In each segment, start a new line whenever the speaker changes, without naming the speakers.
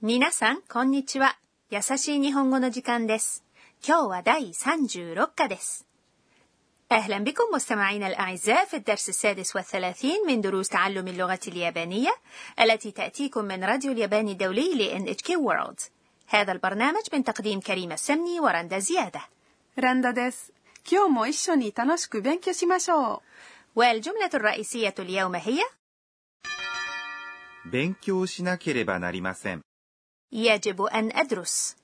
皆さん、こんにちは。優しい日本語の時間です。今日は第36課です。أهلا بكم مستمعينا الأعزاء في الدرس السادس والثلاثين من دروس تعلم اللغة اليابانية التي تأتيكم من راديو اليابان الدولي ل NHK World هذا البرنامج من تقديم كريم السمني ورندا زيادة
ランダです。今日も一緒に楽しく勉強しましょ
う。والجملة الرئيسية اليوم هي
勉強しなければなりません。
يجب أن أدرس.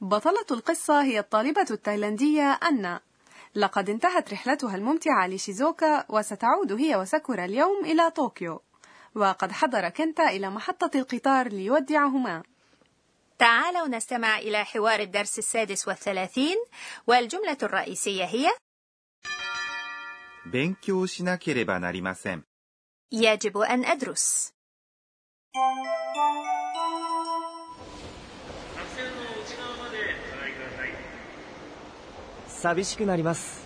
بطلة القصة هي الطالبة التايلاندية أنا. لقد انتهت رحلتها الممتعة لشيزوكا وستعود هي وساكورا اليوم إلى طوكيو. وقد حضر كنتا إلى محطة القطار ليودعهما.
تعالوا نستمع إلى حوار الدرس السادس والثلاثين والجملة الرئيسية هي
勉強しなければなりません。
يجب أن أدرس
寂しくなります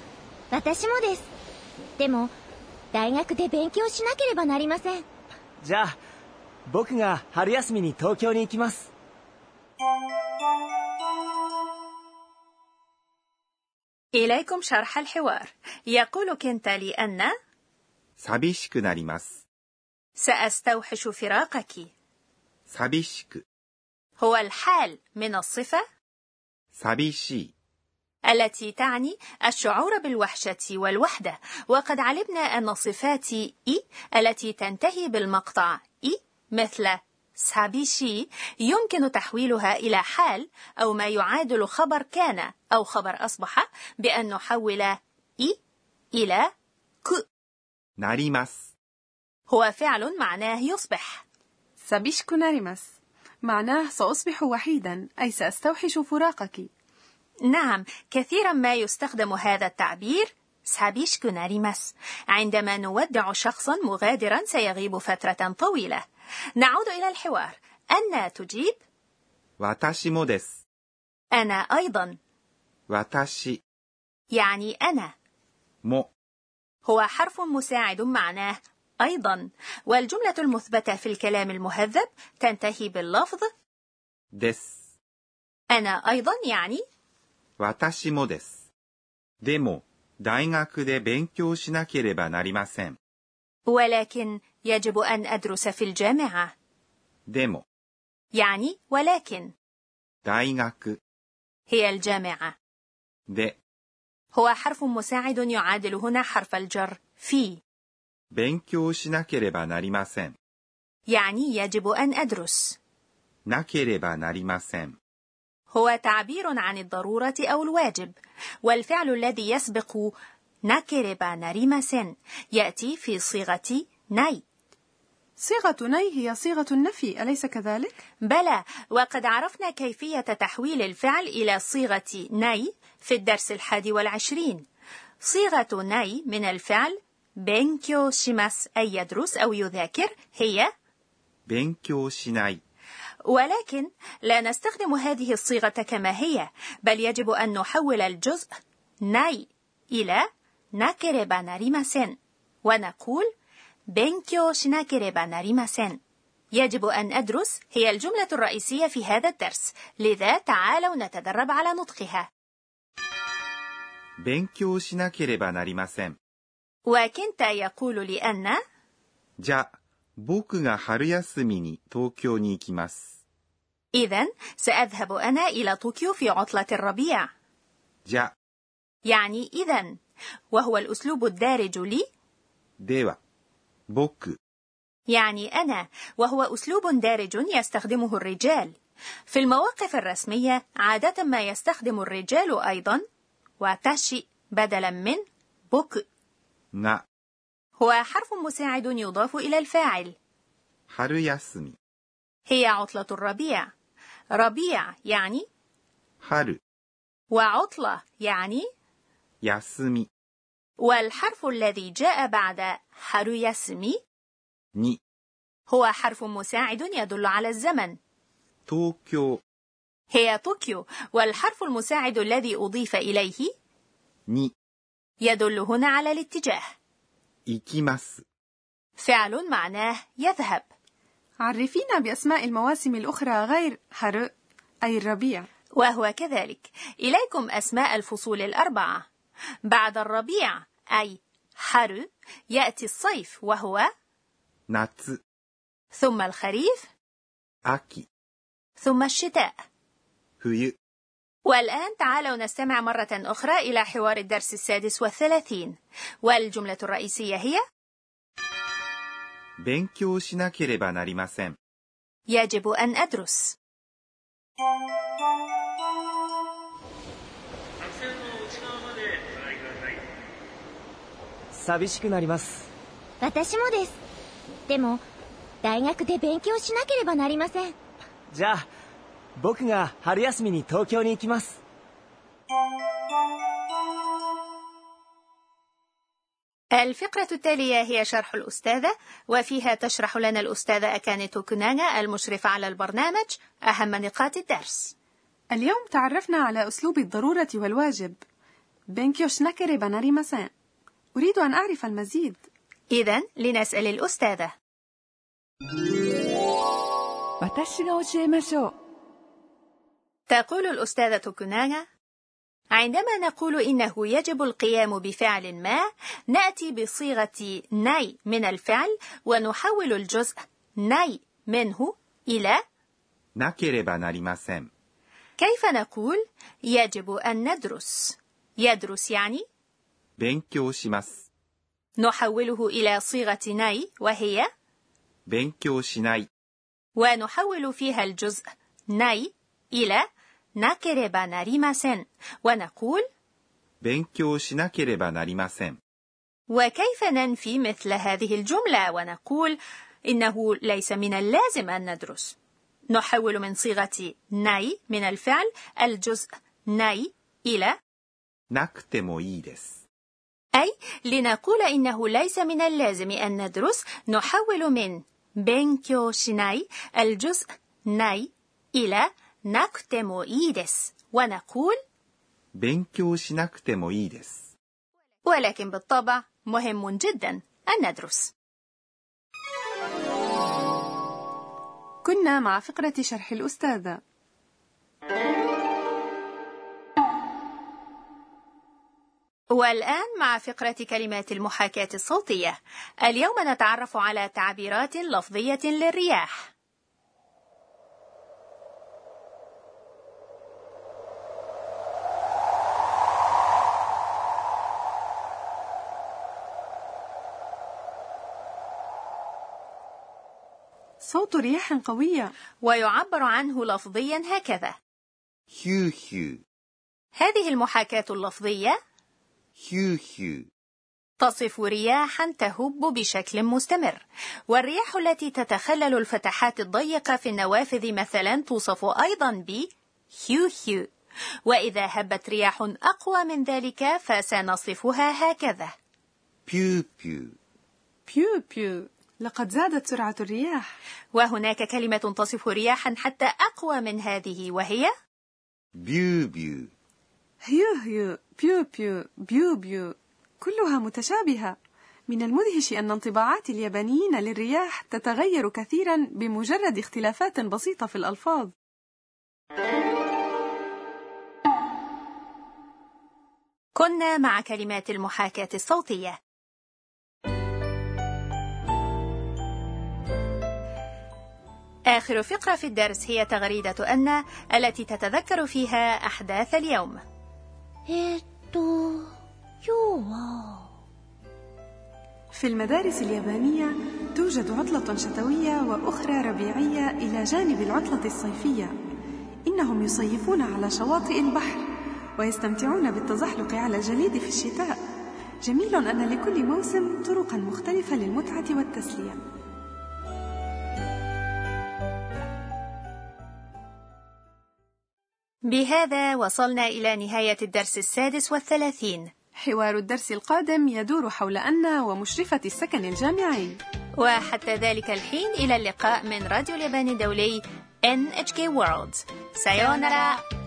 私もですでも大学で勉強しなければなりません
じゃあ僕が春休みに東京に行きます
إليكم شرح الحوار يقول كنتا لي أن
寂しくなります
سأستوحش فراقك
寂しく
هو الحال من الصفة
寂しい
التي تعني الشعور بالوحشة والوحدة وقد علمنا أن صفات إي التي تنتهي بالمقطع إي مثل سابيشي يمكن تحويلها إلى حال أو ما يعادل خبر كان أو خبر أصبح بأن نحول إي إلى ك
なります
هو فعل معناه يصبح
سابيشكو ناريماس معناه سأصبح وحيدا أي سأستوحش فراقك
نعم كثيرا ما يستخدم هذا التعبير سابيشكو ناريماس عندما نودع شخصا مغادرا سيغيب فترة طويلة نعود إلى الحوار أن تجيب
私もです
أنا أيضا
私
يعني أنا
も
هو حرف مساعد معناه أيضا والجملة المثبتة في الكلام المهذب تنتهي باللفظ
です
أنا أيضا يعني
私もですでも大学で勉強しなければなりません
ولكن يجب أن أدرس في الجامعة
でも
يعني ولكن
大学
هي الجامعة
で
هو حرف مساعد يعادل هنا حرف الجر في
勉強しなければなりません
يعني يجب أن أدرس
なければなりません
هو تعبير عن الضرورة أو الواجب والفعل الذي يسبق ناكيريبا ناريماسن يأتي في صيغة ناي
صيغة ناي هي صيغة النفي أليس كذلك؟
بلى وقد عرفنا كيفية تحويل الفعل إلى صيغة ناي في الدرس الحادي والعشرين صيغة ناي من الفعل بنكيو شيماس أي يدرس أو يذاكر هي
勉強しない
ولكن لا نستخدم هذه الصيغة كما هي بل يجب أن نحول الجزء ناي إلى ناكيريبا ناريماسن ونقول بنكيو شناكيريبا ناريماسن يجب أن أدرس هي الجملة الرئيسية في هذا الدرس لذا تعالوا نتدرب على نطقها
勉強しなければなりません
وكنتا يقول لأن
じゃあ僕が春休みに東京に行きます
إذا سأذهب أنا إلى طوكيو في عطلة الربيع
じゃあ
يعني إذا وهو الأسلوب الدارج لي
では僕
يعني أنا وهو أسلوب دارج يستخدمه الرجال في المواقف الرسمية عادة ما يستخدم الرجال أيضا واتاشي بدلا من بوك
が
هو حرف مساعد يضاف إلى الفاعل
春休み
هي عطلة الربيع ربيع يعني
春
وعطلة يعني
休み
والحرف الذي جاء بعد هاروياسمي
に
هو حرف مساعد يدل على الزمن
東京
هي طوكيو والحرف المساعد الذي أضيف إليه
に
يدل هنا على الاتجاه
行きます
فعل معناه يذهب
عرفينا بأسماء المواسم الأخرى غير هارو أي الربيع
وهو كذلك إليكم أسماء الفصول الأربعة بعد الربيع أي حرو يأتي الصيف وهو
夏、
ثم الخريف
秋、
ثم الشتاء
冬、
والآن تعالوا نستمع مرة أخرى إلى حوار الدرس السادس والثلاثين والجملة الرئيسية هي
勉強しなければなりません。
يجب أن أدرس
寂しくなります
私もですでも大学で勉強しなければなりません
じゃあ僕が春休みに東京に行きます
الفقرة التالية هي شرح الأستاذة وفيها تشرح لنا الأستاذة أكاني توكوناغا المشرفة على البرنامج أهم نقاط الدرس
اليوم تعرفنا على أسلوب الضرورة والواجب بنكيوش نكري بناري مساء أريد أن أعرف المزيد
إذا لنسأل الأستاذة
私が教えましょう
تقول الأستاذة توكوناغا عندما نقول إنه يجب القيام بفعل ما نأتي بصيغة ناي من الفعل ونحول الجزء ناي منه إلى
なければなりません。
كيف نقول يجب أن ندرس يدرس يعني
勉強します。
نحوله إلى صيغة ناي وهي
勉強しない。
ونحول فيها الجزء ناي إلى نكرب ناريماسن ونقول
勉強しなければなりません。
وكيف ننفي مثل هذه الجملة ونقول إنه ليس من اللازم أن ندرس نحول من صيغة ناي من الفعل الجزء ناي إلى
なくてもいいです。
أي لنقول إنه ليس من اللازم أن ندرس نحول من بنكيو شيناي الجزء ناي إلى نكتمو إيدس ونقول
勉強しなくてもいいです。
ولكن بالطبع مهم جدا أن ندرس
كنا مع فقرة شرح الأستاذة
والآن مع فقرة كلمات المحاكاة الصوتية اليوم نتعرف على تعبيرات لفظية للرياح
صوت رياح قوية
ويعبر عنه لفظيا هكذا
ヒューヒュー、
هذه المحاكاة اللفظية
ヒューヒュー。
تصف رياحا تهب بشكل مستمر والرياح التي تتخلل الفتحات الضيقة في النوافذ مثلا توصف أيضا ب هيو هيو وإذا هبت رياح أقوى من ذلك فسنصفها هكذا
ピューピュー、
بيو بيو لقد زادت سرعة الرياح
وهناك كلمة تصف رياحا حتى أقوى من هذه وهي
ビュービュー、
هيو هيو بيو بيو بيو بيو كلها متشابهة من المدهش أن انطباعات اليابانيين للرياح تتغير كثيرا بمجرد اختلافات بسيطة في الألفاظ
كنا مع كلمات المحاكاة الصوتية آخر فقرة في الدرس هي تغريدة أن التي تتذكر فيها أحداث اليوم
えーっと今日は
في المدارس اليابانية توجد عطلة شتوية وأخرى ربيعية إلى جانب العطلة الصيفية. إنهم يصيفون على شواطئ البحر ويستمتعون بالتزحلق على الجليد في الشتاء. جميل أن لكل موسم طرقا مختلفة للمتعة والتسلية.
بهذا وصلنا إلى نهاية الدرس السادس والثلاثين
حوار الدرس القادم يدور حول أنا ومشرفة السكن الجامعي.
وحتى ذلك الحين إلى اللقاء من راديو اليابان الدولي NHK World سايونارا